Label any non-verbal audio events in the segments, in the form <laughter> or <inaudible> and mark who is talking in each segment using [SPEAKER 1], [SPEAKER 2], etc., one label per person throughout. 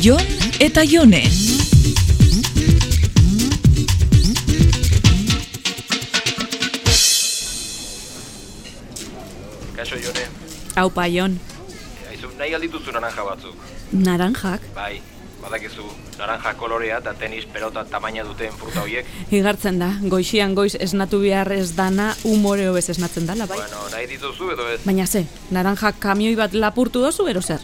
[SPEAKER 1] Jon eta Jone.
[SPEAKER 2] Kaso jone,
[SPEAKER 3] Hau paion,
[SPEAKER 2] aizu nahi aldituzu naranja batzuk.
[SPEAKER 3] naranjak,
[SPEAKER 2] Bai, badakizu, naranja kolorea eta tenis pelota tamaina duten fruta horiek.
[SPEAKER 3] igartzen da, goixian goiz esnatu behar ez dana umore hobez esnatzen dala, bai?
[SPEAKER 2] Bueno, nahi dituzu edo ez.
[SPEAKER 3] Baina ze, naranjak kamioi bat lapurtu dozu ero zer?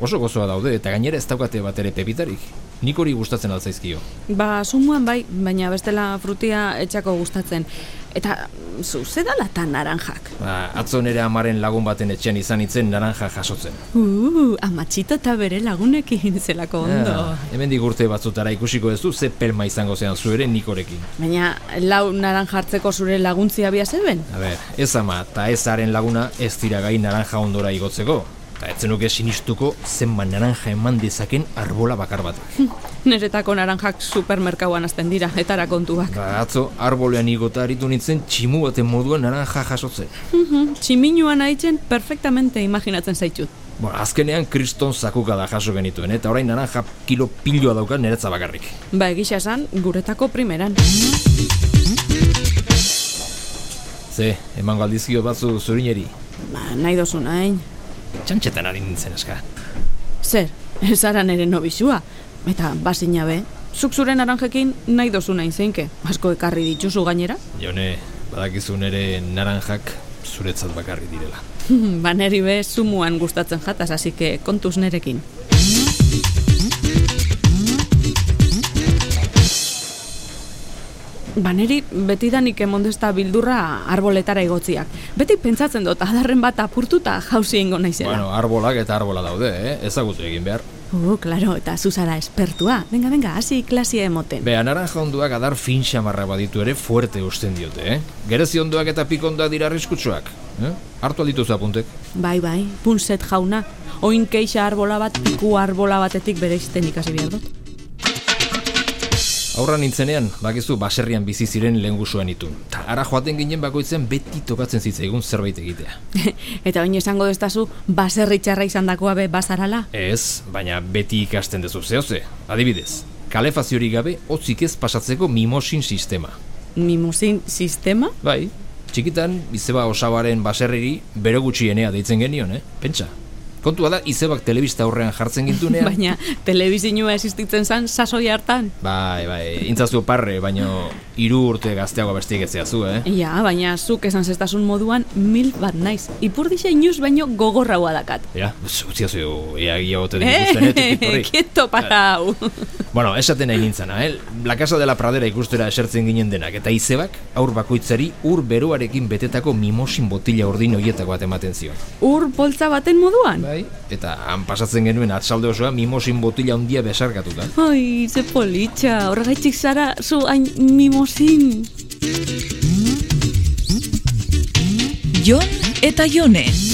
[SPEAKER 4] Oso gozoa daude eta gainera ez daukate bat ere pepitarik. Nik hori gustatzen altzaizkio.
[SPEAKER 3] Ba, sumuan bai, baina bestela frutia etxako gustatzen. Eta, zu, ze dala ta naranjak?
[SPEAKER 4] Ba, atzo nere amaren lagun baten etxean izan itzen naranja jasotzen.
[SPEAKER 3] Uh, amatxito eta bere lagunekin zelako ondo.
[SPEAKER 4] Ja, hemendik Ah, urte batzutara ikusiko ez du ze pelma izango zean zuere nikorekin.
[SPEAKER 3] Baina, lau naranja hartzeko zure laguntzia bia zeben?
[SPEAKER 4] A ber, ez ama eta ez haren laguna ez dira gai naranja ondora igotzeko. Eta etzenuke sinistuko zenba naranja eman dezaken arbola bakar batek.
[SPEAKER 3] Neretako naranjak supermerkauan azten dira, etara kontuak.
[SPEAKER 4] Ba, atzo arbolean igota aritu nintzen tximu baten moduan naranja jasotzen.
[SPEAKER 3] Mhm, Tximinuan aitzen perfectamente imaginatzen zaitut.
[SPEAKER 4] Bueno, azkenean kriston zakuka da jaso genituen, eta orain naranja kilo piloa dauka niretza bakarrik.
[SPEAKER 3] Ba, egisa esan, guretako primeran.
[SPEAKER 4] Ze, eman galdizkio batzu zurineri.
[SPEAKER 3] Ba, nahi dozun hain.
[SPEAKER 4] Txantxetan ari nintzen eska.
[SPEAKER 3] Zer, ezara nere nobizua. Eta, bazina be, zuk zure naranjekin nahi dozun hain zeinke. Asko ekarri dituzu gainera.
[SPEAKER 4] Jone, badakizu nere naranjak zuretzat bakarri direla.
[SPEAKER 3] <laughs> ba, neri be, sumuan gustatzen jataz, hasi que kontuz nerekin. Ba, neri betidanik emondesta bildurra arboletara igotziak. Beti pentsatzen dut, adarren bat apurtuta jauzi ingo naizela.
[SPEAKER 4] Bueno, arbolak eta arbola daude, eh? ezagutu egin behar.
[SPEAKER 3] Uh, klaro, eta zuzara espertua. Benga, benga, hasi klasia emoten.
[SPEAKER 4] Bea, naranja onduak adar fin xamarra baditu ere fuerte usten diote, eh? Gerezi ondoak eta pikondoak dira arriskutsuak. Eh? Hartu aldituzu apuntek.
[SPEAKER 3] Bai, bai, punset jauna. Oin keixa arbola bat, piku arbola batetik bere izten ikasi behar dut.
[SPEAKER 4] Aurra nintzenean, bakizu baserrian bizi ziren lehengusuen itun. Ta ara joaten ginen bakoitzen beti tokatzen zitzaigun zerbait egitea.
[SPEAKER 3] <laughs> eta oin esango destazu, baserritxarra izan dakoa be bazarala.
[SPEAKER 4] Ez, baina beti ikasten dezu zehoze. Adibidez, kalefaziorik gabe hotzik ez pasatzeko mimosin sistema.
[SPEAKER 3] Mimozin sistema?
[SPEAKER 4] Bai, txikitan izeba osabaren baserriri bere gutxienea deitzen genion, eh? Pentsa. Kontua da izebak telebista aurrean jartzen gintunean.
[SPEAKER 3] <laughs> Baina, telebizinua existitzen zan sasoi hartan.
[SPEAKER 4] Bai, bai, intzazu parre, baino hiru urte gazteago besteik ez zehazu, eh?
[SPEAKER 3] Ja, baina zuk esan zestasun moduan mil bat naiz. Ipur dixe inuz baino gogorraua dakat.
[SPEAKER 4] Ja, utziazu, ea gila bote den ikusten, eh,
[SPEAKER 3] Eh, <laughs>
[SPEAKER 4] tokit horri.
[SPEAKER 3] kieto para hau.
[SPEAKER 4] Bueno, esaten nahi nintzana, eh? La Casa de la Pradera ikustera esertzen ginen denak, eta izebak aur bakoitzari ur beroarekin betetako mimosin botila urdin horietako bat ematen zion.
[SPEAKER 3] Ur poltza baten moduan?
[SPEAKER 4] Bai? Eta han pasatzen genuen atsalde osoa mimosin botila handia besarkatuta.
[SPEAKER 3] Ai, ze politxa, horregaitik zara zu hain mimozin.
[SPEAKER 1] Jon eta Jone.